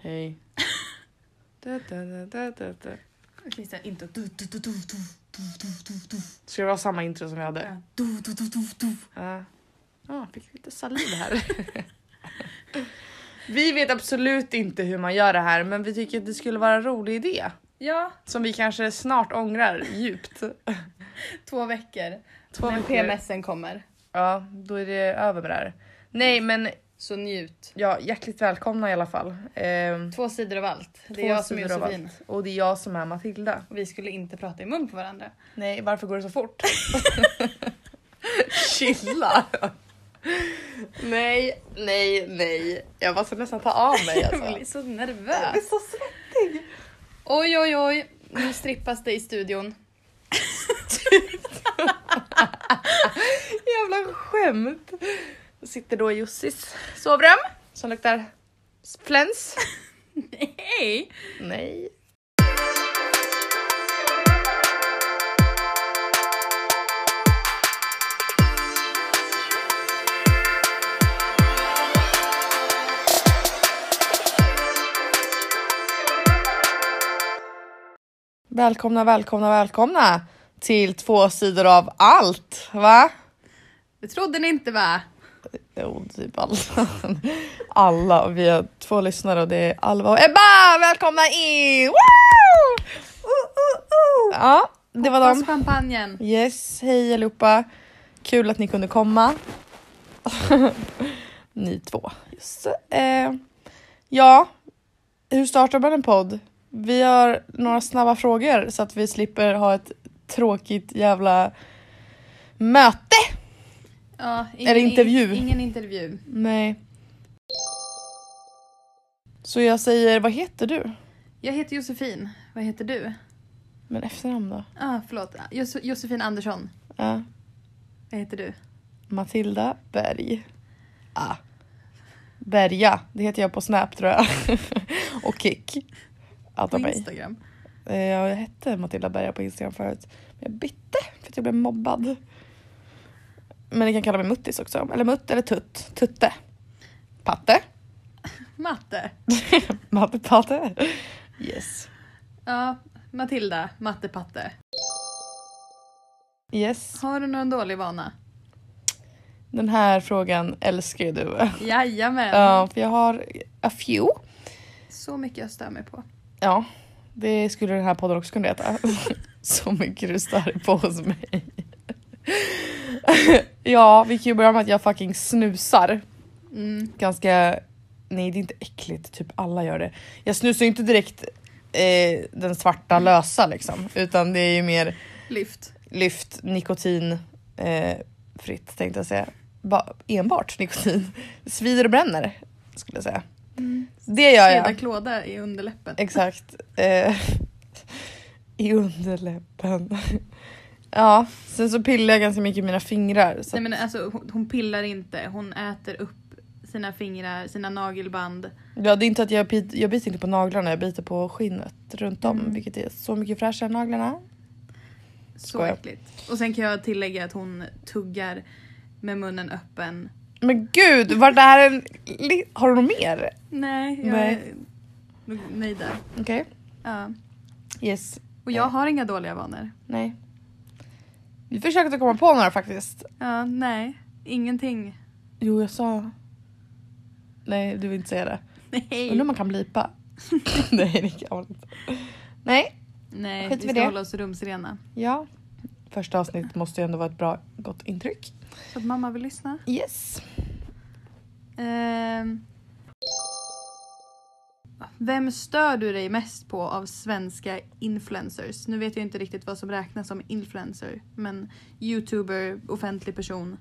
Hej. Da, da, da, da, da, da. Finns det inte du, du, du, du, du, du, du, du, du. Ska det vara samma intro som vi hade? Ja. Du, du, du, du, du. Ja. Ja, fick lite saliv här. vi vet absolut inte hur man gör det här men vi tycker att det skulle vara en rolig idé. Ja, Som vi kanske snart ångrar djupt. två veckor. Två När veckor. PMSen kommer. Ja, då är det över med det här. Nej men Så njut. ja, hjärtligt välkomna i alla fall. Ehm, Två sidor av allt. Det Två är jag som är sidor av Josefin. och det är jag som är Matilda. Och vi skulle inte prata i mun på varandra. Nej, varför går det så fort? Chilla! nej, nej, nej. Jag måste nästan ta av mig alltså. Jag blir så nervös. så svettig. Oj, oj, oj. Nu strippas det i studion. Jävla skämt. Jag sitter då i Jussis sovrum som luktar fläns. Hej! Nej. Välkomna, välkomna, välkomna till två sidor av allt, va? Det trodde ni inte va? Jo, typ alla. alla. Och vi har två lyssnare och det är Alva och Ebba! Välkomna in! Woo! Ja, det var Hoppas dem. champagnen. Yes, hej allihopa. Kul att ni kunde komma. ni två. Just. Eh, ja, hur startar man en podd? Vi har några snabba frågor så att vi slipper ha ett tråkigt jävla möte. Ja, Eller intervju. Ingen intervju. Nej. Så jag säger, vad heter du? Jag heter Josefin. Vad heter du? Men efternamn då? Ah, förlåt. Jos- Josefin Andersson. Ja, Vad heter du? Matilda Berg. Ah. Berga, det heter jag på Snap tror jag. Och Kik. Allt På om mig. Instagram. Eh, ja, Jag hette Matilda Berga på Instagram förut. Men jag bytte för att jag blev mobbad. Men ni kan kalla mig Muttis också. Eller Mutt eller Tutt. Tutte. Patte. Matte. Matte Patte. Yes. Ja, Matilda. Mattepatte. Yes. Har du någon dålig vana? Den här frågan älskar ju du. Jajamän. Ja, för jag har a few. Så mycket jag stör mig på. Ja, det skulle den här podden också kunna heta. Så mycket du stör dig på hos mig. ja, vi kan ju börja med att jag fucking snusar. Mm. Ganska... Nej, det är inte äckligt. Typ alla gör det. Jag snusar ju inte direkt eh, den svarta lösa liksom. Utan det är ju mer Lyft. lyft nikotin eh, fritt tänkte jag säga. Ba- enbart nikotin. Svider och bränner skulle jag säga. Det gör jag. Sveda klåda i underläppen. Mm. Exakt. Eh, I underläppen. ja, sen så pillar jag ganska mycket i mina fingrar. Så Nej att, men alltså hon, hon pillar inte. Hon äter upp sina fingrar, sina nagelband. ja, det är inte att jag, bit, jag biter inte på naglarna, jag biter på skinnet runt om, Mm. vilket är så mycket fräschare än naglarna. Så Skojar. äckligt. Och sen kan jag tillägga att hon tuggar med munnen öppen. Men gud, var det här en... li- Har du något mer? Nej, jag Nej. är nog nöjd där. Okej. Ja. Yes. Och jag har inga dåliga vanor. Nej. Vi försökte komma på några faktiskt. Ja, nej. Ingenting. Jo, jag sa... Nej, du vill inte säga det. Undrar om Nej. man kan blipa? Nej, det kan man inte. Nej, Nej, Skit vi vi ska det. hålla oss rumsrena. Ja. Första avsnittet måste ju ändå vara ett bra, gott intryck. Så att mamma vill lyssna. Yes. Ehm. Vem stör du dig mest på av svenska influencers? Nu vet jag inte riktigt vad som räknas som influencer, men youtuber, offentlig person.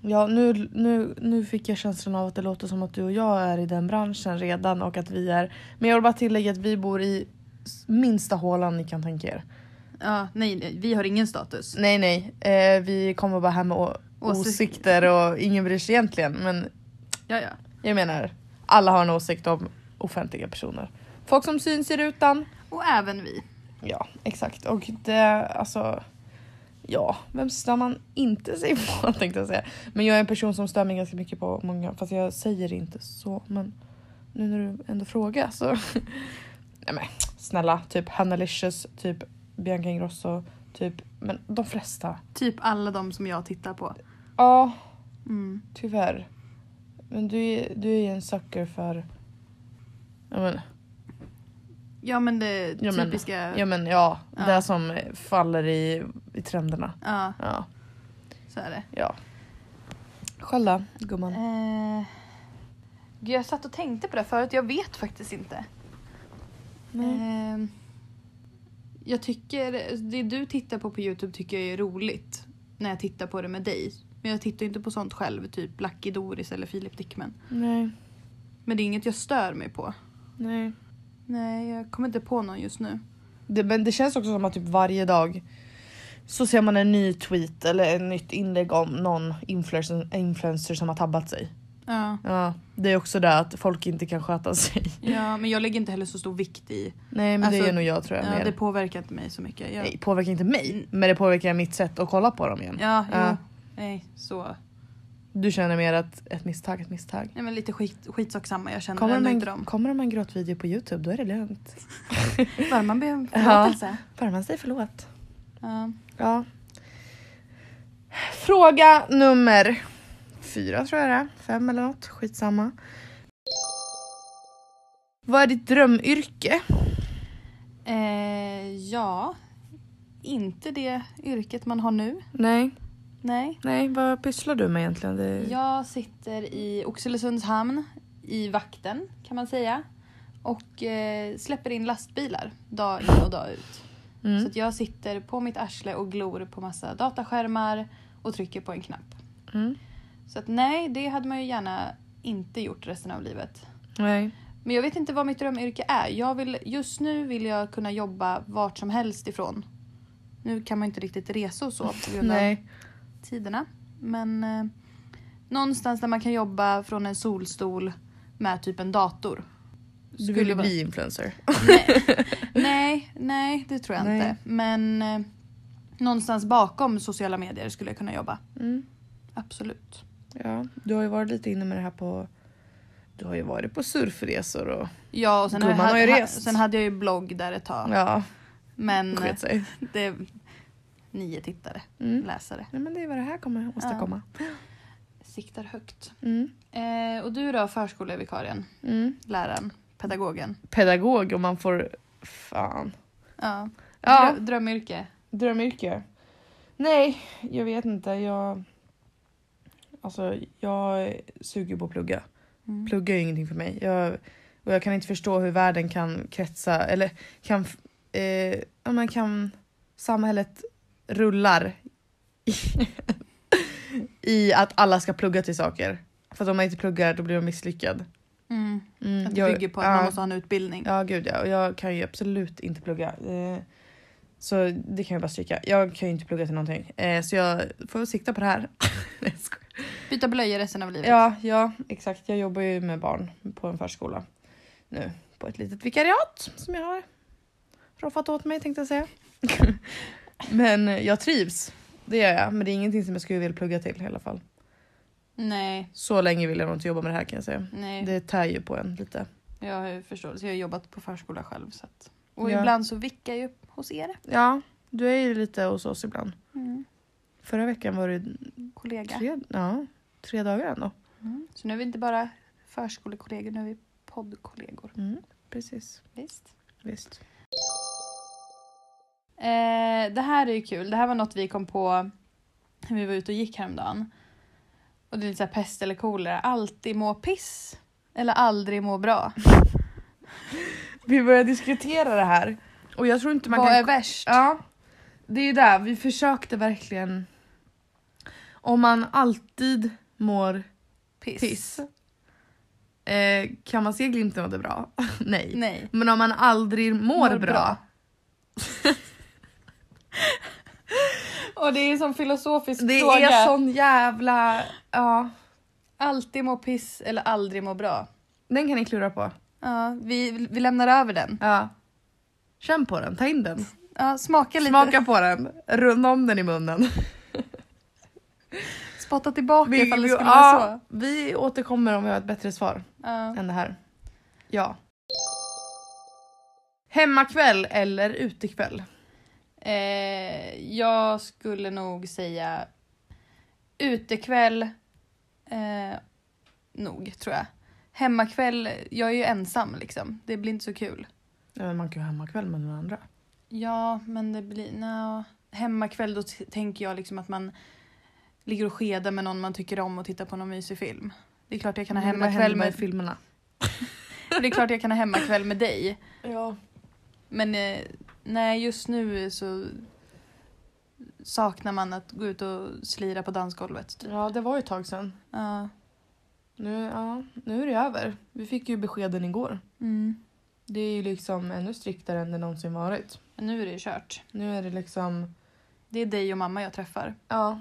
Ja, nu, nu, nu fick jag känslan av att det låter som att du och jag är i den branschen redan och att vi är... Men jag vill bara tillägga att vi bor i s- minsta hålan ni kan tänka er. Ja, nej, nej, vi har ingen status. Nej, nej. Eh, vi kommer bara hem med å- Åsik- åsikter och ingen bryr sig egentligen. Men Ja, ja. jag menar, alla har en åsikt om offentliga personer. Folk som syns i rutan. Och även vi. Ja, exakt. Och det, alltså... Ja, vem stör man inte sig på tänkte jag säga. Men jag är en person som stör mig ganska mycket på många, fast jag säger det inte så. Men nu när du ändå frågar så. Nej men snälla, typ Hannalicious, typ Bianca Ingrosso, typ men de flesta. Typ alla de som jag tittar på. Ja, Mm. tyvärr. Men du, är- du är ju en sucker för Ja men Ja men det Ja, men- typiska. ja, men, ja, Ja. det som faller i, i trenderna. ja Ja, så är det. ja. Själv då, gumman? Eh, gud, jag satt och tänkte på det förut, jag vet faktiskt inte. Nej. Eh, jag tycker, det du tittar på på Youtube tycker jag är roligt. När jag tittar på det med dig. Men jag tittar ju inte på sånt själv, typ Lucky Doris eller Filip Dickman. Nej, Men det är inget jag stör mig på. nej. Nej, jag kommer inte på någon just nu. Det, men det känns också som att typ varje dag så ser man en ny tweet eller ett nytt inlägg om någon influencer, influencer som har tabbat sig. Ja. Ja, det är också det att folk inte kan sköta sig. ja, men jag lägger inte heller så stor vikt i. Nej men det Alltså, är nog jag tror jag Ja, mer. det påverkar inte mig så mycket. Jag, Mm. Nej, påverkar inte mig men det påverkar mitt sätt att kolla på dem igen. Ja, jo. Ja. Nej, så. Du känner mer att ett misstag, ett misstag. Nej, men lite skit, skitsak samma. Jag känner Kommer ändå de, inte dem. en, kommer de en gråtvideo på youtube då är det lugnt. Bara man ber om Ja. förlåtelse. Värman säger förlåt. Ja. Ja. Fråga nummer fyra tror jag det är. Fem eller något. Skitsamma. Vad är ditt drömyrke? Eh, ja. Inte det yrket man har nu. Nej, Nej. nej, vad pysslar du med egentligen? Det... Jag sitter i Oxelösunds hamn i vakten kan man säga. Och eh, släpper in lastbilar dag in och dag ut. Så Mm. att jag sitter på mitt arsle och glor på massa dataskärmar och trycker på en knapp. Mm. Så att nej, det hade man ju gärna inte gjort resten av livet. Nej. Men jag vet inte vad mitt drömyrke är. Jag vill, just nu vill jag kunna jobba vart som helst ifrån. Nu kan man ju inte riktigt resa och så på grund av nej. tiderna. Men eh, någonstans där man kan jobba från en solstol med typ en dator. Du vill ju vara- bli influencer. Nej, nej det tror jag Nej. inte. Men eh, någonstans bakom sociala medier skulle jag kunna jobba. Mm. Absolut. Ja, du har ju varit lite inne med det här på... Du har ju varit på surfresor och... Ja, och sen, har jag, Gumman har ju ha- rest. sen hade jag ju blogg där ett tag. Ja, Men eh, sket sig. det... Nio tittare, Mm. läsare. Nej men det är vad det här kommer att åstadkomma. Siktar högt. Mm. Eh, och du då, förskolevikarien, Mm. läraren, pedagogen? Pedagog om man får... Fan. Ja. Ja. Drö- drömyrke? Drömyrke? Nej, jag vet inte. Jag... Alltså, jag suger på att plugga. Mm. Plugga är ingenting för mig. Jag... Och jag kan inte förstå hur världen kan kretsa, eller kan... Eh, ja, men kan samhället rullar i- i att alla ska plugga till saker. För att om man inte pluggar då blir man misslyckad. Mm. Mm, Att det jag- bygger på att ja. man måste ha en utbildning. Ja gud ja, och jag kan ju absolut inte plugga. Eh, så det kan jag bara stryka. Jag kan ju inte plugga till någonting. Eh, så jag får sikta på det här. Nej, jag skojar. Byta blöjor resten av livet. ja, ja exakt. Jag jobbar ju med barn på en förskola nu. På ett litet vikariat som jag har roffat åt mig tänkte jag säga. men jag trivs. Det gör jag. Men det är ingenting som jag skulle vilja plugga till i alla fall. Nej, Så länge vill jag nog inte jobba med det här kan jag säga. nej. Det tär ju på en lite. Jag har ju förståelse. Jag har jobbat på förskola själv. Så att... Och Ja. ibland så vickar jag ju hos er. Ja, du är ju lite hos oss ibland. Mm. Förra veckan var du Kollega. Tre, ja, tre dagar ändå. Mm. Så nu är vi inte bara förskolekollegor, nu är vi poddkollegor. Mm, precis. Visst? Visst. Eh, det här är ju kul. Det här var något vi kom på när vi var ute och gick häromdagen. Och det är lite så här pest eller kolera. Alltid må piss. Eller aldrig må bra. Vi började diskutera det här. Och jag tror inte man Vad kan... är värst? Ja, det är ju där. Vi försökte verkligen... Om man alltid mår Piss. piss, eh, kan man se glimten av det bra? Nej. Nej. Men om man aldrig mår, bra, Mår bra. Och det är en sån filosofisk Det fråga. är sån jävla... Ja, Alltid må piss eller aldrig må bra. den kan ni klura på. Ja, vi, vi lämnar över den. Ja. Känn på den, ta in den. Ja, smaka lite. Smaka på den, runda om den i munnen. Spotta tillbaka Vi, ifall vi, det skulle ja, vara så. vi återkommer om vi har ett bättre svar Ja. än det här. Ja. Hemmakväll eller utekväll? Eh, jag skulle nog säga utekväll, eh, nog tror jag. Hemmakväll, jag är ju ensam liksom. Det blir inte så kul. Ja, men man kan ju ha hemmakväll med den andra. Ja, men det blir... No. Hemmakväll, då t- tänker jag liksom att man ligger och skedar med någon man tycker om och tittar på någon mysig film. Det är klart jag kan ha Men Mm, vad hemmakväll händer i med, filmerna. det är klart jag kan ha hemmakväll med dig. Ja. Men eh, nej, just nu så saknar man att gå ut och slira på dansgolvet. Typ. ja, det var ju ett tag sedan. Ja. Nu, ja, nu är det över. Vi fick ju beskeden igår. Mm. Det är ju liksom ännu striktare än det någonsin varit. Men nu är det ju kört. Nu är det liksom, Det är dig och mamma jag träffar. ja.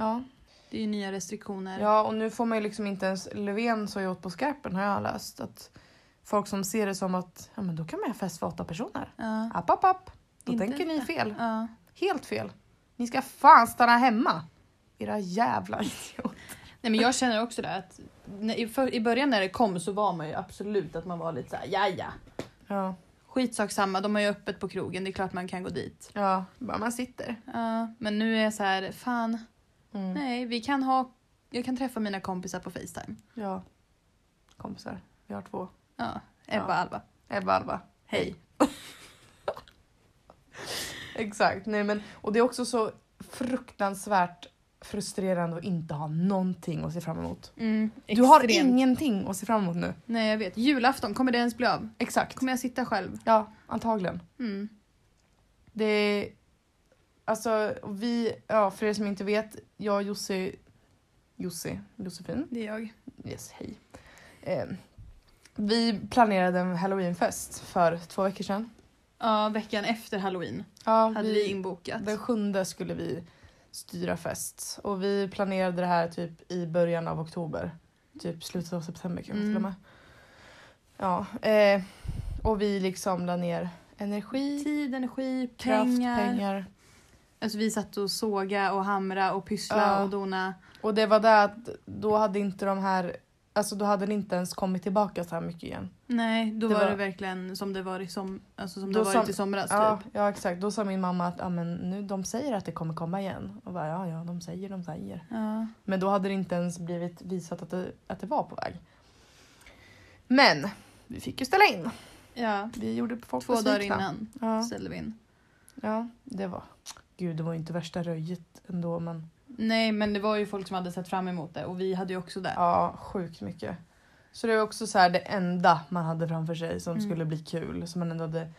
Ja, Det är ju nya restriktioner. ja och nu får man ju liksom inte ens, Löfven sa ju åt på skarpen har jag läst. Att folk som ser det som att, ja men då kan man ju ha fest för åtta personer. Ja. App, app, app. Då Inte. tänker ni fel. Ja. Helt fel. Ni ska fan stanna hemma. Era jävla idioter. Nej, men jag känner också det att när, i, för, i början när det kom så var man ju absolut att man var lite såhär ja ja. Ja. Skitsak samma, de har ju öppet på krogen, det är klart man kan gå dit. Ja, bara man sitter. Ja, men nu är jag så här, fan, Mm. nej vi kan ha, jag kan träffa mina kompisar på Facetime. Ja. Kompisar. Vi har två. Ja, Ebba Ja. och Alva, Ebba och Alva. hej. Exakt. Nej, men, och det är också så fruktansvärt frustrerande att inte ha någonting att se fram emot. Mm, Du har extremt. ingenting att se fram emot nu. Nej jag vet, julafton, kommer det ens bli av? Exakt. Kommer jag sitta själv? Ja, antagligen. Mm. Det är... Alltså, vi... Ja, för er som inte vet, jag och Jussi... Jussi? Josefin? Det är jag. Yes, hej. Eh, vi planerade en halloweenfest för två veckor sedan. Ja, veckan efter halloween Ja, hade vi inbokat. den sjunde skulle vi styra fest och vi planerade det här typ i början av oktober. Typ slutet av september kanske Mm. till och med. Ja, eh, och vi liksom la ner energi, Tid, energi, pengar. kraft, pengar. pengar. Alltså vi satt och såga och hamra och pyssla Ja. och dona. Och det var det att då hade inte de här, alltså då hade det inte ens kommit tillbaka så här mycket igen. Nej, då Det var, var- det verkligen som det var i, som, alltså som Då det har varit som- i somras Ja, typ. ja exakt. Då sa min mamma att ja, men nu, de säger att det kommer komma igen. Och bara, ja, ja, de säger, de säger. Ja. Men då hade det inte ens blivit visat att det, att det var på väg. Men vi fick ju ställa in. ja. Vi gjorde folk Två dagar besvikna. innan Ja, ställde vi in. ja, det var... Gud, det var ju inte värsta röjet ändå, men Nej, men det var ju folk som hade sett fram emot det och vi hade ju också det. ja, sjukt mycket. Så det var också så här det enda man hade framför sig som Mm. skulle bli kul, som man ändå hade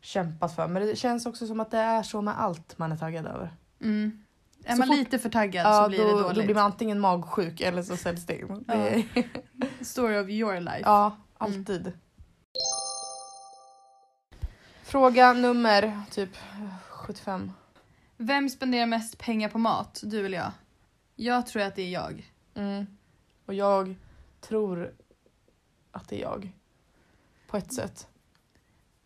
kämpat för. Men det känns också som att det är så med allt man är taggad över. Mm. Är Så man fort- lite för taggad Ja, så blir då, det dåligt. då blir man antingen magsjuk eller så säljs det in. Ja. Det är- Story of your life. Ja, alltid. Mm. Fråga nummer typ 75. Vem spenderar mest pengar på mat? Du eller jag? Jag tror att det är jag. Mm. Och jag tror att det är jag. På ett sätt.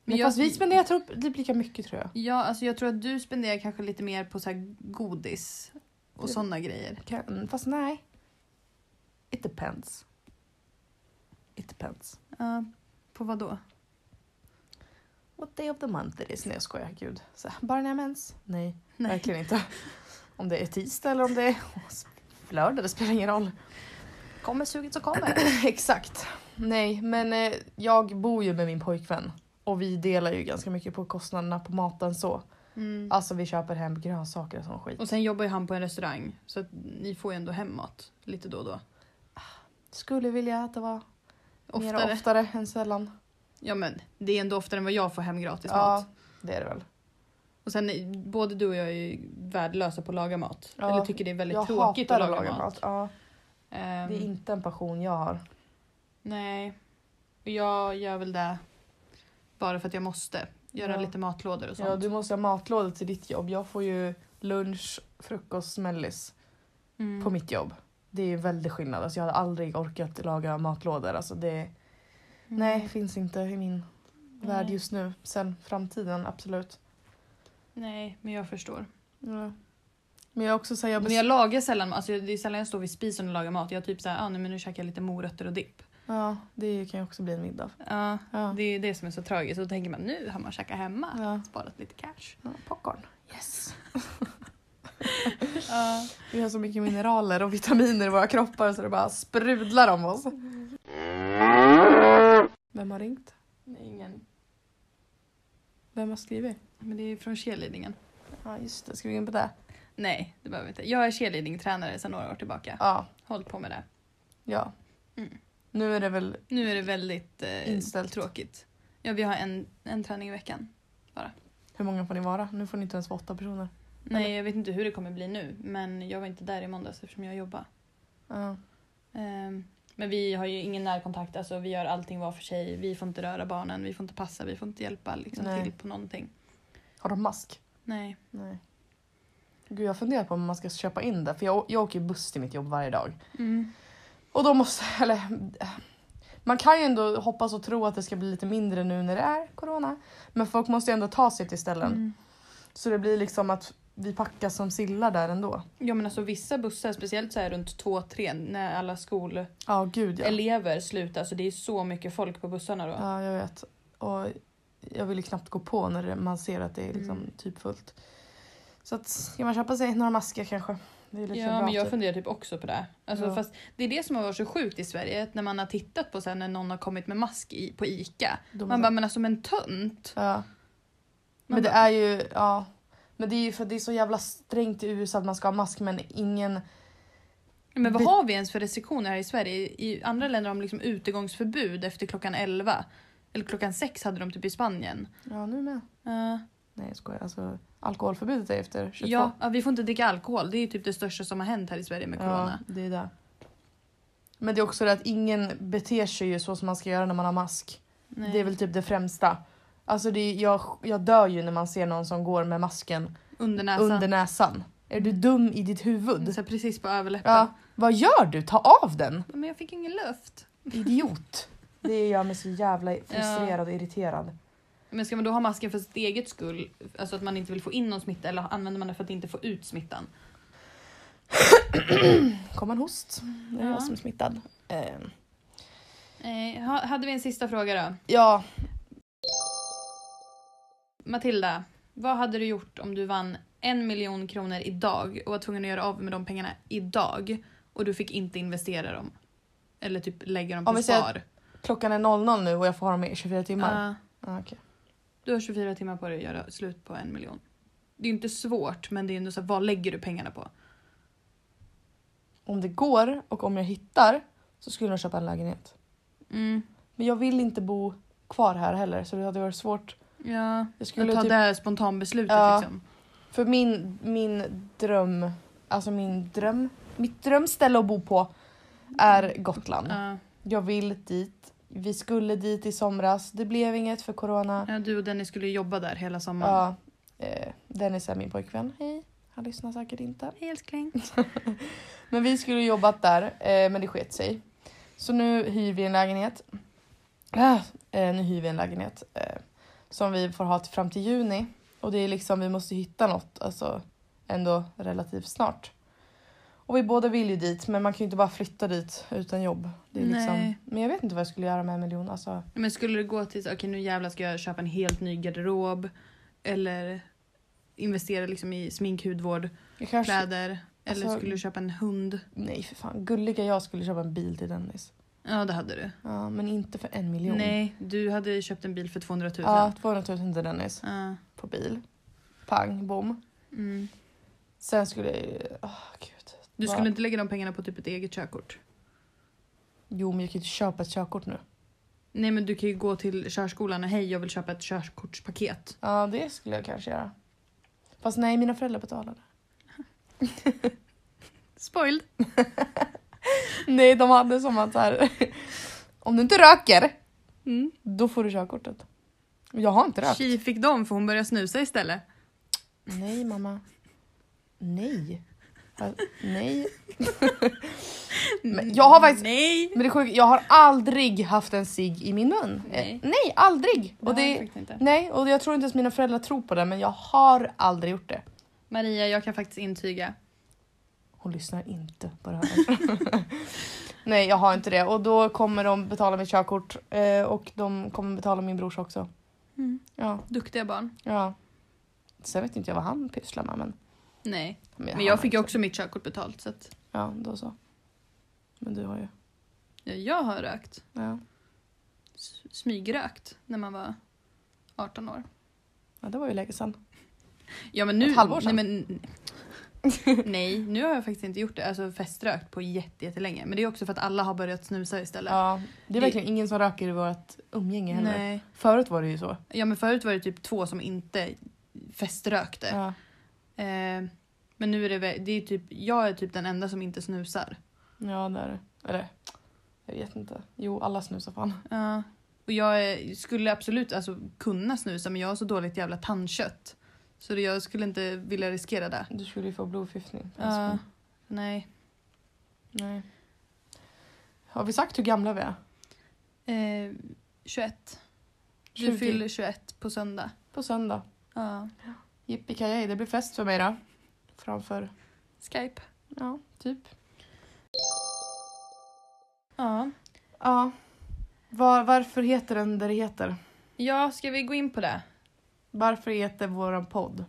Men jag, fast vi spenderar typ typ lika mycket tror jag. Ja, alltså jag tror att du spenderar kanske lite mer på så här godis och Det- sådana grejer. Kan, fast nej. It depends. It depends. Ja, på vad då? What day of the month it is. Nej jag skojar, gud. Så, här, bara när jag har mens? Nej, verkligen inte. Om det är tisdag eller om det är lördag, det spelar ingen roll. Kommer suget så kommer. Exakt. Nej, men eh, jag bor ju med min pojkvän och vi delar ju ganska mycket på kostnaderna på maten så. Mm. Alltså vi köper hem grönsaker och sån skit. Och sen jobbar ju han på en restaurang så att ni får ju ändå hem mat lite då och då. Skulle vilja att det var oftare. mer Oftare. oftare än sällan. Ja men det är ändå oftare än vad jag får hem gratis Ja, mat. det är det väl. Och sen är- både du och jag är ju värdelösa på att laga mat. Ja, Eller tycker det är väldigt jag tråkigt hatar att laga mat. Ja, Ehm, det är inte en passion jag har. Nej. Och Jag gör väl det bara för att jag måste. Göra Ja. lite matlådor och sånt. Ja, du måste ha matlådor till ditt jobb. Jag får ju lunch, frukost, mellis Mm. på mitt jobb. Det är ju väldigt skillnad. Alltså, jag hade aldrig orkat laga matlådor. Alltså, det... Mm. Nej, finns inte i min värld Nej. just nu. Sen framtiden, absolut. Nej, men jag förstår. Men jag är också säger jag, Men bes- jag lagar sällan mat. Alltså, det är sällan jag står vid spisen och lagar mat. Jag typ såhär, ah, nej, men nu käkar jag lite morötter och dipp. Ja, det kan ju också bli en middag. Ja, Ja. det är ju det som är så tragiskt. Och då tänker man nu har man käkat hemma, Ja. sparat lite cash. Ja, popcorn. Yes. Vi har så mycket mineraler och vitaminer i våra kroppar så det bara sprudlar om oss. Vem har ringt? ingen. Vem har skrivit? Men det är från cheerleadingen. Ja just det, ska vi gå in på det? Nej, det behöver vi inte. Jag är cheerleadingtränare sedan några år tillbaka. Ja. Hållit på med det. ja. Mm. Nu är det väl Nu är det väldigt eh, Inställt. tråkigt. Ja, vi har en, en träning i veckan. Hur många får ni vara? Nu får ni inte ens vara åtta personer. Nej, jag vet inte hur det kommer bli nu, men jag var inte där i måndags eftersom jag jobbar. Ja. Ehm, Men vi har ju ingen närkontakt, alltså vi gör allting var för sig. Vi får inte röra barnen, vi får inte passa, vi får inte hjälpa liksom, Nej. till på någonting. Har de mask? Nej. Nej. Gud, jag funderar på om man ska köpa in det. För jag, jag åker ju buss till mitt jobb varje dag. Mm. Och då måste, eller, man kan ju ändå hoppas och tro att det ska bli lite mindre nu när det är corona. Men folk måste ju ändå ta sig till ställen. Mm. Så det blir liksom att vi packas som sillar där ändå. Ja men alltså vissa bussar, speciellt så här runt 2-3 när alla skolelever Ja, gud ja. slutar så det är så mycket folk på bussarna då. Ja, jag vet. Och jag vill ju knappt gå på när det- man ser att det är liksom Mm. typ fullt. Så att, ska man köpa sig några masker kanske? Det är lite ja bra. men jag typ. funderar typ också på det. Alltså, Ja. fast det är det som har varit så sjukt i Sverige, att när man har tittat på sen när någon har kommit med mask i, på ICA. De- Man bara men alltså men tönt! Ja. Man Men det bara- är ju, ja. Men det är ju för att det är så jävla strängt i USA att man ska ha mask men ingen, Men vad Vi- har vi ens för restriktioner här i Sverige? I andra länder har de liksom utegångsförbud efter klockan 11. Eller klockan 6 hade de typ i Spanien. ja nu med. Eh, Nej jag skojar, alltså alkoholförbudet är efter 22. ja, ja, vi får inte dricka alkohol. Det är ju typ det största som har hänt här i Sverige med ja corona. det är det. Men det är också det att ingen beter sig ju så som man ska göra när man har mask. Nej. Det är väl typ det främsta. Alltså det är, jag, jag dör ju när man ser någon som går med masken Under näsan. Mm. under näsan. Är du dum i ditt huvud? Så här precis på överläppen. Ja. Vad gör du? Ta av den! Men jag fick ingen luft. Idiot! Det gör mig så jävla frustrerad och irriterad. Men ska man då ha masken för sitt eget skull? Alltså att man inte vill få in någon smitta eller använder man det för att inte få ut smittan? Kom en host. Det är Ja. jag som är smittad. Eh, Eh, ha- hade vi en sista fråga då? ja, Matilda, vad hade du gjort om du vann en miljon kronor idag och var tvungen att göra av med de pengarna idag och du fick inte investera dem? Eller typ lägga dem på Om vi säger spar? klockan är 00 nu och jag får ha dem i 24 timmar. Ja, Ah, okej. du har 24 timmar på dig att göra slut på en miljon. Det är ju inte svårt, men det är ändå så här, vad lägger du pengarna på? Om det går och om jag hittar så skulle jag köpa en lägenhet. Mm. Men jag vill inte bo kvar här heller så det hade varit svårt. Ja, Jag skulle jag tar typ det här spontanbeslutet Ja. liksom. För min, min dröm, alltså min dröm, mitt drömställe att bo på är Gotland. Ja. Jag vill dit. Vi skulle dit i somras. Det blev inget för corona. Ja, du och Dennis skulle ju jobba där hela sommaren. Ja, eh, Dennis är min pojkvän. Hej. Han lyssnar säkert inte. Hej älskling. Men vi skulle jobbat där, eh, men det sket sig. Så nu hyr vi en lägenhet. Ah, eh, nu hyr vi en lägenhet eh, som vi får ha till, fram till juni. Och det är liksom, vi måste hitta något, alltså ändå relativt snart. Och vi båda vill ju dit, men man kan ju inte bara flytta dit utan jobb. Det är liksom, Nej. men jag vet inte vad jag skulle göra med en miljon. Alltså, Men skulle det gå till så, okej nu jävlar ska jag köpa en helt ny garderob eller investera liksom i smink, hudvård, jag kanske, kläder eller alltså- skulle du köpa en hund? Nej för fan, gulliga jag skulle köpa en bil till Dennis. Ja det hade du. Ja, men inte för en miljon. Nej, du hade köpt en bil för 200 000. Ja, 200 000 till Dennis Ja, på bil. Pang, bom. mm. Sen skulle jag ju- åh gud. Du Va? skulle inte lägga de pengarna på typ ett eget körkort? Jo men jag kan ju inte köpa ett körkort nu. Nej men du kan ju gå till körskolan och hej jag vill köpa ett körkortspaket. Ja det skulle jag kanske göra. Fast nej mina föräldrar betalade. Spoiled! Nej de hade som att så här. Om du inte röker Mm. då får du körkortet. Och Jag har inte rökt. Tji fick dem för hon började snusa istället. Nej mamma. Nej. Ja, Nej. Men jag har faktiskt- Mm. Nej! Men det är sjukt, jag har aldrig haft en cigg i min mun. Nej. Eh, Nej aldrig. Det har Och jag det, faktiskt inte. nej och jag tror inte ens mina föräldrar tror på det men jag har aldrig gjort det. Maria, jag kan faktiskt intyga. Hon lyssnar inte på det här. Nej jag har inte det och då kommer de betala mitt körkort eh, och de kommer betala min brors också. Mm. Ja, Duktiga barn. ja. Sen vet inte jag vad han pysslar med men. Nej. Men han jag har fick inte- ju också mitt körkort betalt så att Ja, då så. Men du har ju. ja, jag har rökt. Ja, S- Smygrökt när man var 18 år. ja det var ju länge sedan. Ja men nu... Ett halvår sedan. Nej, men, nej, nu har jag faktiskt inte gjort det. Alltså feströkt på jätte- jättelänge. Men det är också för att alla har börjat snusa istället. Ja, det är verkligen ingen som röker i vårt umgänge heller. nej. Förut var det ju så. Ja men förut var det typ två som inte feströkte. Ja. Eh, men nu är det, vä- det är typ, jag är typ den enda som inte snusar. Ja, det är det. Eller, jag vet inte. Jo, alla snusar fan. Ja. Och jag är, skulle absolut alltså, kunna snusa men jag har så dåligt jävla tandkött. Så det- jag skulle inte vilja riskera det. Du skulle ju få blodförgiftning. Ja. nej. Nej. Har vi sagt hur gamla vi är? Eh, 21. Du 20. fyller 21 på söndag. På söndag. Ja. Yippee det blir fest för mig då. Framför, Skype. ja, typ. Ja. Ja. Var, varför heter den det det heter? ja, ska vi gå in på det? Varför heter våran podd?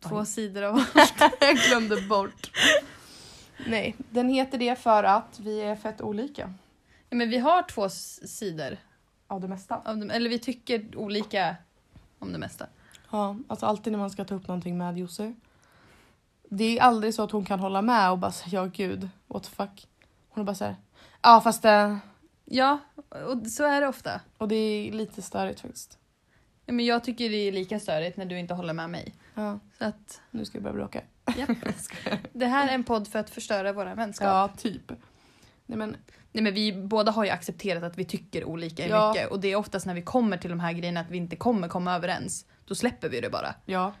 Två Oj. sidor av... jag glömde bort. Nej, den heter det för att vi är fett olika. Ja, men vi har två s- sidor. Av det mesta. Av dem, eller vi tycker olika om det mesta. Ja, alltså alltid när man ska ta upp någonting med Jose. Det är aldrig så att hon kan hålla med och bara säga ja gud, what the fuck. Hon är bara såhär, ja fast det... Ja, och så är det ofta. Och det är lite störigt faktiskt. Ja, men jag tycker det är lika störigt när du inte håller med mig. Ja, Så att, nu ska vi börja bråka. det här är en podd för att förstöra våra vänskap. Ja, typ. Nej men, Nej, men vi båda har ju accepterat att vi tycker olika i Ja. mycket och det är oftast när vi kommer till de här grejerna att vi inte kommer komma överens. Då släpper vi det bara. ja.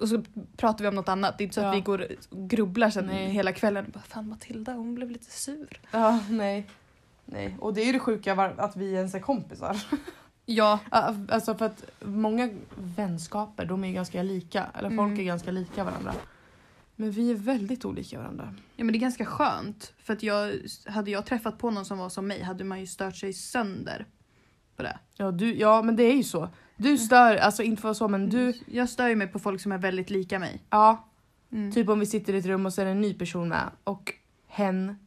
Och så pratar vi om något annat. Det är inte så Ja. att vi går och grubblar sen Nej. hela kvällen. Bara, Fan Matilda, hon blev lite sur. Ja, nej. Nej, och det är ju det sjuka var- att vi ens är kompisar. Ja, Ja, Alltså för att många vänskaper, de är ju ganska lika. Eller folk Mm. är ganska lika varandra. Men vi är väldigt olika varandra. Ja men det är ganska skönt. För att jag, hade jag träffat på någon som var som mig hade man ju stört sig sönder på det. Ja, du, ja men det är ju så. Du stör, alltså inte för så men du, Jag stör ju mig på folk som är väldigt lika mig. ja. Mm. Typ om vi sitter i ett rum och så är det en ny person med och hen,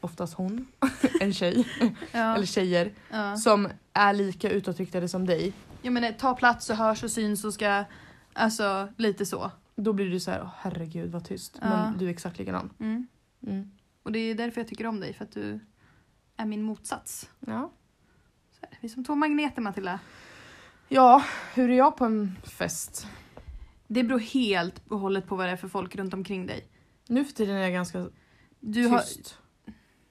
oftast hon, en tjej Ja, eller tjejer ja. som är lika utåtriktade som dig. Jag menar, eh, ta plats och hörs och syns och ska... Alltså lite så. Då blir du så här, "Åh, herregud vad tyst. Ja. Men du är exakt likadan. Mm. Mm. Och det är därför jag tycker om dig, för att du är min motsats. Ja. Så här, vi är som två magneter Matilda. ja, hur är jag på en fest? Det beror helt och hållet på vad det är för folk runt omkring dig. Nu för tiden är jag ganska Du har, tyst.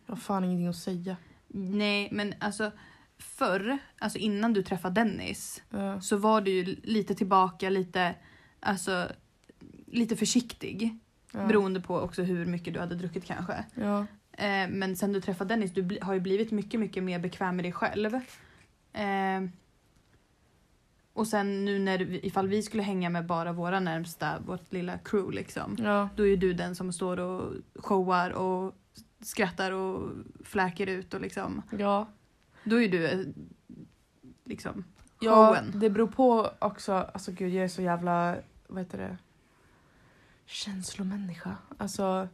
Jag har fan ingenting att säga. Nej, men alltså förr, alltså innan du träffade Dennis, Eh, så var du ju lite tillbaka, lite, alltså, lite försiktig. ja. Beroende på också hur mycket du hade druckit kanske. Ja. Eh, men sen du träffade Dennis, du bli- har ju blivit mycket, mycket mer bekväm med dig själv. Eh, och sen nu när, vi- ifall vi skulle hänga med bara våra närmsta, vårt lilla crew liksom. Ja. Då är ju du den som står och showar och skrattar och fläker ut och liksom. ja. Då är ju du eh, liksom Ja, showen. det beror på också. Alltså gud, jag är så jävla, vad heter det, känslomänniska. Alltså,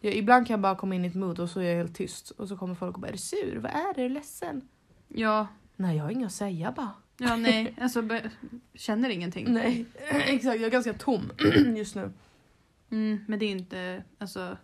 jag, ibland kan jag bara komma in i ett mood och så är jag helt tyst. Och så kommer folk och bara, är du sur? Vad är det? Är du ledsen? Ja, Nej, jag har inget att säga bara. Ja, nej. Alltså, be- känner ingenting. Nej, exakt. Jag är ganska tom just nu. Mm, men det är inte, alltså,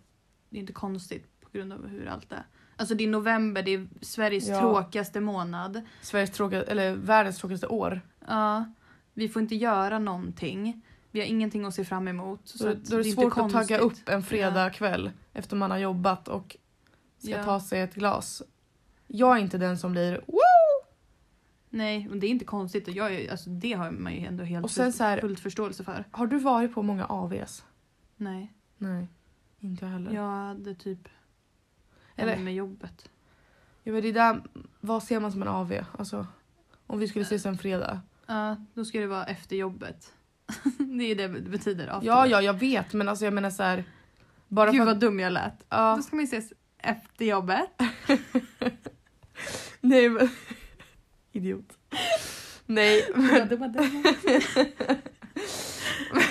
det är inte konstigt på grund av hur allt är. Alltså det är november, det är Sveriges Ja. tråkigaste månad. Sveriges tråkigaste, eller världens tråkigaste år. Ja, vi får inte göra någonting. Vi har ingenting att se fram emot. Så då, att då är det, inte svårt att konstigt. tagga upp en fredagkväll efter man har jobbat och ska Ja. ta sig ett glas. Jag är inte den som blir "Woo!" Nej, men det är inte konstigt. Och jag är, alltså, det har man ju ändå helt Och sen så här- fullt förståelse för. Har du varit på många AVs? Nej, Nej, inte jag heller. jag hade typ Eller- en med jobbet. Ja, men det där, vad ser man som en AV? Alltså, om vi skulle ses en fredag. Ja, då ska det vara efter jobbet. det är det det betyder. after Ja, ja, jag vet, men alltså jag menar så här. Bara Gud för att, vad dum jag lät. ja, Då ska man ju ses efter jobbet. Nej men... Idiot. Nej men,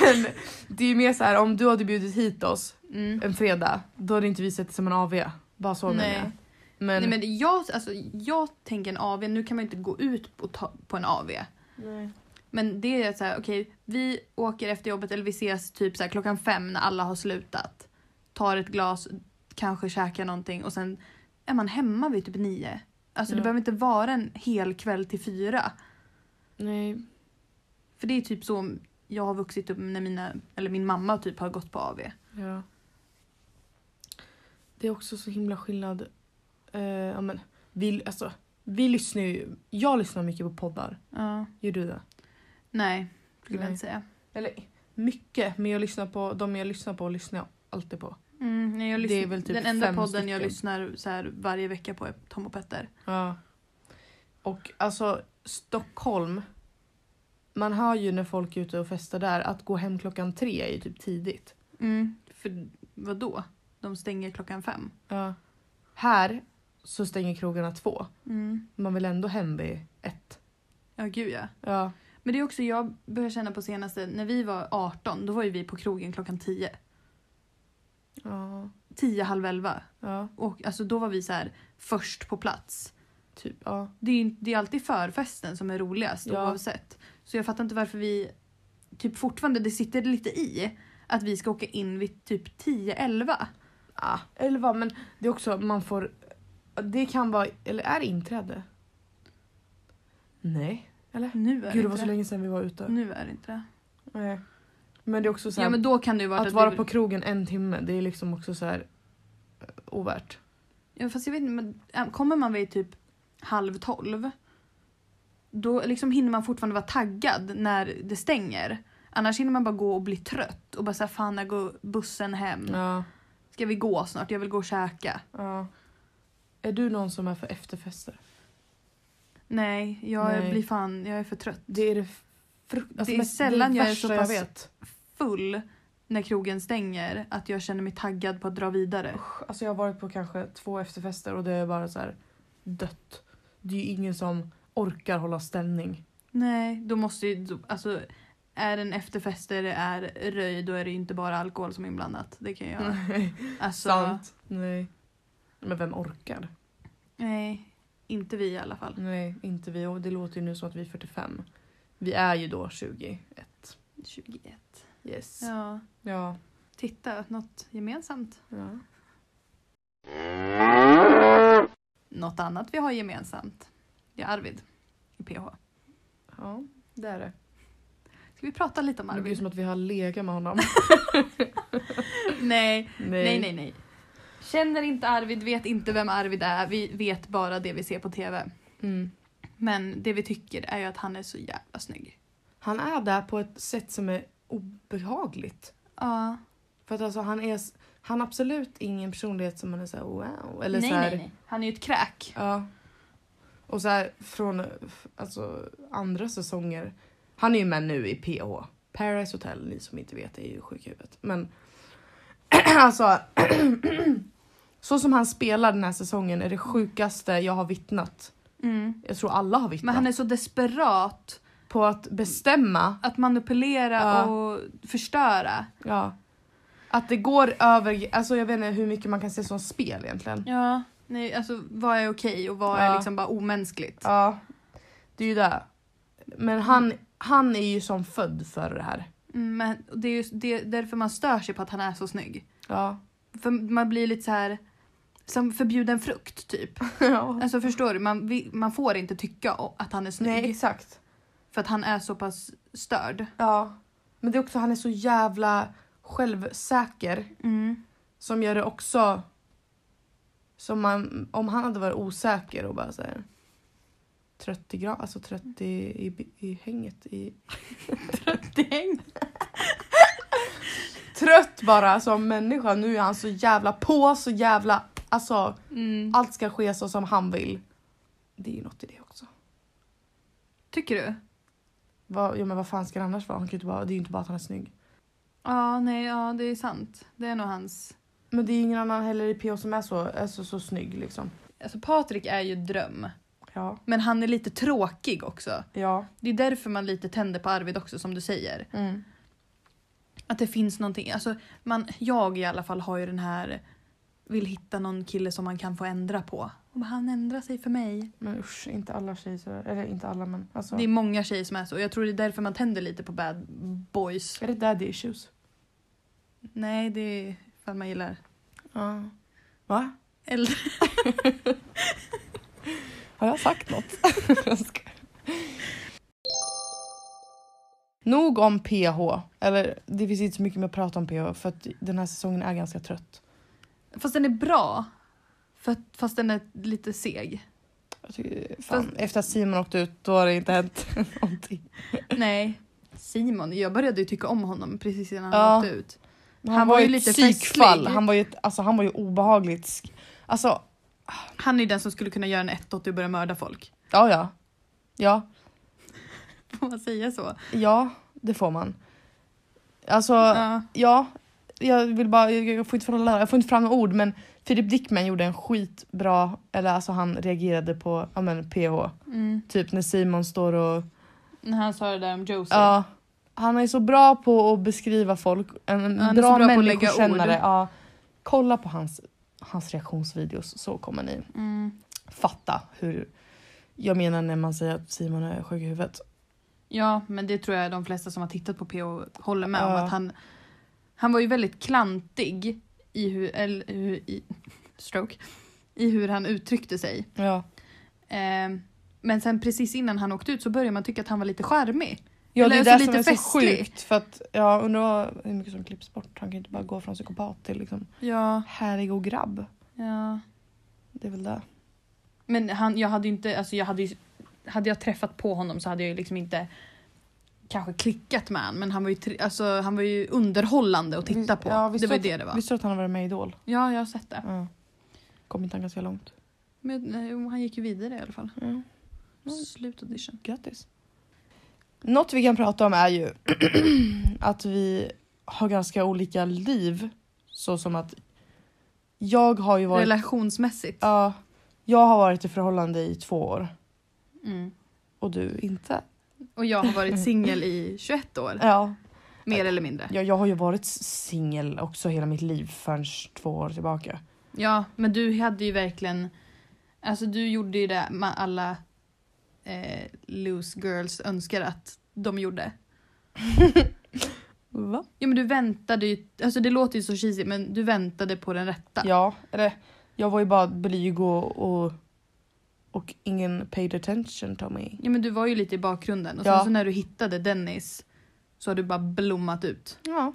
men det är ju mer så här om du hade bjudit hit oss Mm. en fredag då hade inte vi sett det som en AV. Bara så menar Nej. jag. Men, Nej, men det- jag, alltså, jag tänker en AV, nu kan man ju inte gå ut på, ta, på en AV. Nej. Men det är så här, okej, vi åker efter jobbet eller vi ses typ så här, klockan fem när alla har slutat. Tar ett glas, kanske käkar någonting och sen är man hemma vid typ nio. Alltså det Ja. behöver inte vara en hel kväll till fyra. Nej. För det är typ så jag har vuxit upp när mina, eller min mamma typ har gått på AV. Ja. Det är också så himla skillnad. Eh, ja, men, vi, alltså, vi lyssnar ju, jag lyssnar mycket på poddar. Ja. Gör du det? Nej, skulle Nej. jag inte säga. Eller mycket, men jag lyssnar på de jag lyssnar på lyssnar jag alltid på. Mm, nej, jag Det är lyssnar, väl typ den enda fem podden jag stycken. lyssnar så här varje vecka på är Tom och Petter. Ja. Och alltså Stockholm. Man hör ju när folk är ute och festar där att gå hem klockan tre är ju typ tidigt. Mm. För vad då? De stänger klockan fem. Ja. Här så stänger krogarna två. Mm. Man vill ändå hem vid ett. Ja, gud ja. Ja. Men det är också jag börjar känna på senaste, när vi var 18 då var ju vi på krogen klockan 10. Ja. 10, halv 11. Ja. Och alltså då var vi så här först på plats. Typ. Ja. Det är ju det är alltid förfesten som är roligast Ja. oavsett. Så jag fattar inte varför vi typ fortfarande, det sitter lite i att vi ska åka in vid typ 10, 11. Ah, elva, men det är också man får... Det kan vara... Eller är det inträde? Nej. Nu är Gud, det det var inte så det. länge sedan vi var ute. Nu är det inte det. Nej. Men det är också så här, Ja men då kan det ju vara att, att, vara vi... på krogen en timme, det är liksom också så här eh, ovärt. Ja, fast jag vet inte, men äh, kommer man vid typ halv tolv då liksom hinner man fortfarande vara taggad när det stänger. Annars hinner man bara gå och bli trött och bara säga fan när går bussen hem? Ja. Ska vi gå snart? Jag vill gå och käka. ja. Är du någon som är för efterfester? Nej, jag Nej. blir fan, jag är för trött. Det alltså är det, fru- Det är sällan jag är värsta så pass- Jag vet. Full när krogen stänger att jag känner mig taggad på att dra vidare. Usch, Alltså jag har varit på kanske två efterfester och det är bara så här dött. Det är ju ingen som orkar hålla ställning. Nej, då måste ju, då- alltså är en efterfest där det är röj då är det ju inte bara alkohol som är inblandat. Det kan jag göra. Nej. Alltså, Mm. Sant. Nej. Men vem orkar? Nej, inte vi i alla fall. Nej, inte vi. Och det låter ju nu som att vi är 45. Vi är ju då 21. 21. Yes. Ja, Ja. titta, något gemensamt. ja. Något annat vi har gemensamt. Det är Arvid i PH. Ja, det är det. Ska vi prata lite om Det blir ju Arvid? som att vi har legat med honom. Nej, Mm. nej, nej, nej. Känner inte Arvid, vet inte vem Arvid är. Vi vet bara det vi ser på TV. Mm. Men det vi tycker är ju att han är så jävla snygg. Han är där på ett sätt som är obehagligt. Ja. För att alltså han är s- han har absolut ingen personlighet som man är så här wow. Eller nej, så här, nej, nej. Han är ju ett kräk. Ja. Och så här från f- alltså, andra säsonger. Han är ju med nu i PH. Paradise Hotel, ni som inte vet, är ju sjuk i huvudet. Men alltså. så som han spelar den här säsongen är det sjukaste jag har vittnat. Mm. Jag tror alla har vittnat. Men han är så desperat På att bestämma. att manipulera Ja. och förstöra. Ja. Att det går över, alltså jag vet inte hur mycket man kan se som spel egentligen. Ja, nej, alltså vad är okej och vad är Ja. liksom bara omänskligt? Ja. Det är ju det. Men han, han är ju som född för det här. Mm, Men det är ju det är därför man stör sig på att han är så snygg. Ja. För man blir lite så här som förbjuden frukt typ. ja. Alltså förstår du, man, vill, man får inte tycka o- att han är snygg. Nej, exakt. För att han är så pass störd. Ja. Men det är också, han är så jävla självsäker som gör det också som man, om han hade varit osäker och bara såhär 30 grad, alltså 30 i, i, i hänget i Däng. trött bara som människa. Nu är han så jävla på, så jävla alltså Mm. allt ska ske så som han vill. Det är ju något i det också. Tycker du? Vad, ja, men vad fan ska det annars vara? Han kan ju inte bara, det är ju inte bara att han är snygg. Ja, nej, ja det är sant. Det är nog hans Men det är ingen annan heller i PH som är så, är så, så snygg liksom. Alltså Patrik är ju dröm. Ja. Men han är lite tråkig också. Ja. Det är därför man lite tänder på Arvid också som du säger. Mm. Att det finns någonting. Alltså, man, jag i alla fall har ju den här vill hitta någon kille som man kan få ändra på. Och bara, han ändrar sig för mig. Men usch, inte alla tjejer så- Eller inte alla men alltså. Det är många tjejer som är så. Jag tror det är därför man tänder lite på bad boys. Är det daddy issues? Nej, det är för man gillar Ja. Va? äldre. Har jag sagt något? Jag skojar. Nog om PH. Eller det finns inte så mycket mer att prata om PH för att den här säsongen är ganska trött. Fast den är bra. För, att- fast den är lite seg. Jag tycker, fan, Efter att Simon åkte ut då har det inte hänt någonting. Nej. Simon, jag började ju tycka om honom precis innan Ja. han åkte ut. Men Han var ju ett lite psykfall. festlig. Han var ju, ett, alltså, han var ju obehagligt. sk- Alltså, Han är ju den som skulle kunna göra en 180 och börja mörda folk. ja ja. Ja, Får man säga så? ja det får man. Alltså, Ja. ja. Jag vill bara, jag jag får inte fram, jag får inte fram ord men Filip Dickman gjorde en skitbra, eller alltså han reagerade på, ja men PH. Mm. Typ när Simon står och, När han sa det där om Josie. ja. Han är så bra på att beskriva folk, en en Han är så bra, bra på att lägga människokännare. ord. Ja. Kolla på hans, hans reaktionsvideos så kommer ni Mm. fatta hur jag menar när man säger att Simon är sjuk i huvudet. ja, men det tror jag de flesta som har tittat på PO håller med om. Ja. Att han, han var ju väldigt klantig i hur, eller, hur, i, stroke, i hur han uttryckte sig. Ja. Ehm, men sen precis innan han åkte ut så började man tycka att han var lite charmig. Ja, Eller det är alltså det lite som är så festlig. sjukt för att jag undrar vad- hur mycket som klipps bort. Han kan ju inte bara gå från psykopat till liksom Ja, härlig och grabb. ja. Det är väl det. Men han, jag hade ju inte, alltså jag hade ju, hade jag träffat på honom så hade jag ju liksom inte kanske klickat med honom men han var ju, tri- alltså, han var ju underhållande att titta Vi- på. Mm, ja, visst det var ju att- det det var. Visste du att han har varit med i Idol? Ja, jag har sett det. Ja. Kom inte han ganska långt? Men, eh, jo, han gick ju vidare i alla fall. Ja. Mm. Slutaudition. Grattis. Något vi kan prata om är ju att vi har ganska olika liv. Så som att jag har ju varit Relationsmässigt. Ja, jag har varit i förhållande i två år Mm. och du inte. Och jag har varit singel i 21 år, Ja, mer eller mindre. jag, jag har ju varit singel också hela mitt liv förrän två år tillbaka. Ja, men du hade ju verkligen... Alltså du gjorde ju det med alla eh, loose girls önskar att de gjorde. Va? Ja men du väntade ju, alltså det låter ju så cheesy men du väntade på den rätta. Ja, eller jag var ju bara blyg och, och, och ingen paid attention to me. Ja, men du var ju lite i bakgrunden och Ja. sen så när du hittade Dennis så har du bara blommat ut. Ja,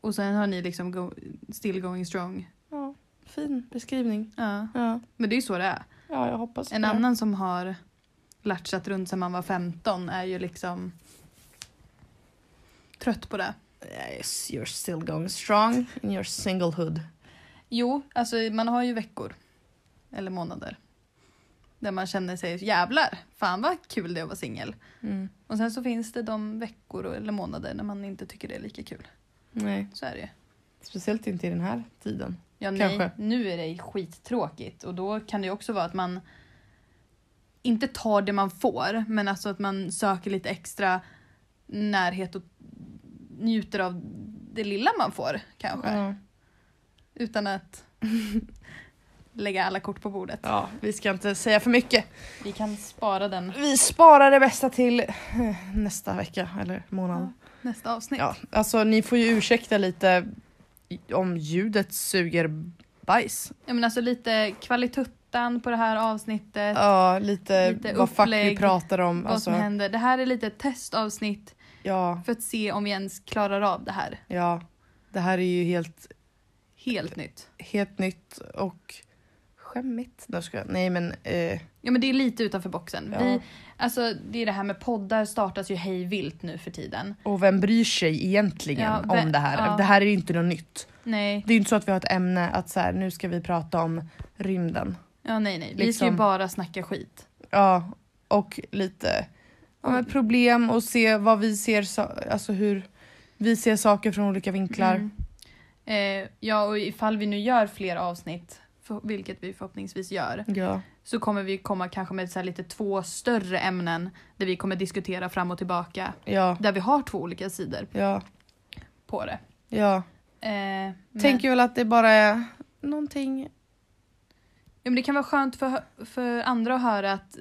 Och sen har ni liksom go, still going strong. ja fin beskrivning. Ja. Ja, Men det är ju så det är. ja jag hoppas En det. annan som har latchat runt sedan man var 15 är ju liksom trött på det. Yes, you're still going strong in your singlehood. Jo, alltså man har ju veckor. Eller månader. Där man känner sig jävlar, fan vad kul det är att vara singel. Mm. Och sen så finns det de veckor och- eller månader när man inte tycker det är lika kul. Nej, Så är det ju. speciellt inte i den här tiden. Ja, nej, Kanske. nu är det skittråkigt och då kan det ju också vara att man inte tar det man får men alltså att man söker lite extra närhet och njuter av det lilla man får kanske. Ja. Utan att lägga alla kort på bordet. ja, vi ska inte säga för mycket. Vi kan spara den Vi sparar det bästa till eh, nästa vecka eller månad. nästa avsnitt. Ja, alltså ni får ju ursäkta lite i- om ljudet suger bajs. Ja, men alltså lite kvalituttan på det här avsnittet. Ja, lite, Lite vad fuck vi upplägg, pratar om. Vad som Alltså, händer. Det här är lite ett testavsnitt ja, för att se om vi ens klarar av det här. ja. Det här är ju helt, Helt nytt. helt nytt och skämmigt. Nej, ska jag. Nej men, eh, Ja men det är lite utanför boxen. ja. Vi, alltså, det är det här med poddar startas ju hej vilt nu för tiden. och vem bryr sig egentligen Ja, ve- om det här? ja. Det här är ju inte något nytt. Nej, Det är ju inte så att vi har ett ämne att så här, nu ska vi prata om rymden. ja, nej, nej. vi ska ju Liksom. bara snacka skit. Ja, och lite ja, men problem och se vad vi ser, sa- alltså hur vi ser saker från olika vinklar. Mm. Eh, ja, och ifall vi nu gör fler avsnitt, för, vilket vi förhoppningsvis gör, Ja. så kommer vi komma kanske med så här lite två större ämnen där vi kommer diskutera fram och tillbaka. Ja. Där vi har två olika sidor Ja. på det. Ja. Eh, men, Tänker väl att det bara är någonting. ja, men det kan vara skönt för, för andra att höra att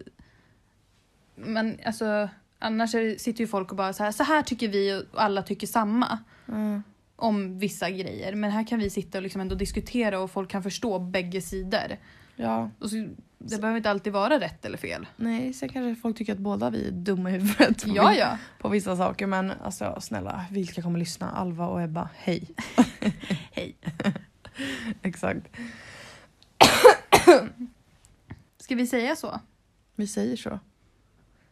men, alltså, annars är det, sitter ju folk och bara så här, så här tycker vi och alla tycker samma Mm. om vissa grejer. Men här kan vi sitta och liksom ändå diskutera och folk kan förstå bägge sidor. Ja. Och så, det behöver inte alltid vara rätt eller fel. Nej, sen kanske folk tycker att båda vi är dumma i huvudet på, Ja, vi- ja. på vissa saker. Men alltså snälla, vilka kommer lyssna? Alva och Ebba, hej. Hej. Exakt. Ska vi säga så? Vi säger så.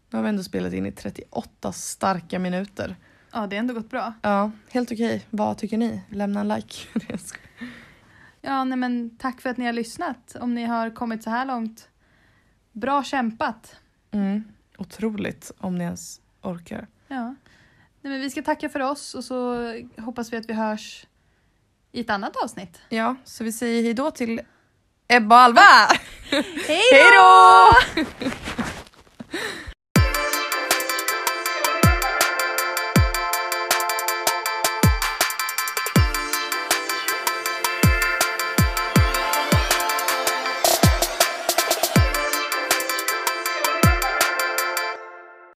Nu har vi ändå spelat in i 38 starka minuter. Ja, det har ändå gått bra. Ja, helt okej. Vad tycker ni? Lämna en like. Nej, jag skojar. Ja, nej men tack för att ni har lyssnat. Om ni har kommit så här långt, bra kämpat. mm. Otroligt, om ni ens orkar. Ja. Nej, men vi ska tacka för oss och så hoppas vi att vi hörs i ett annat avsnitt. Ja, så vi säger hejdå till Ebba och Alva! Hej Hej då!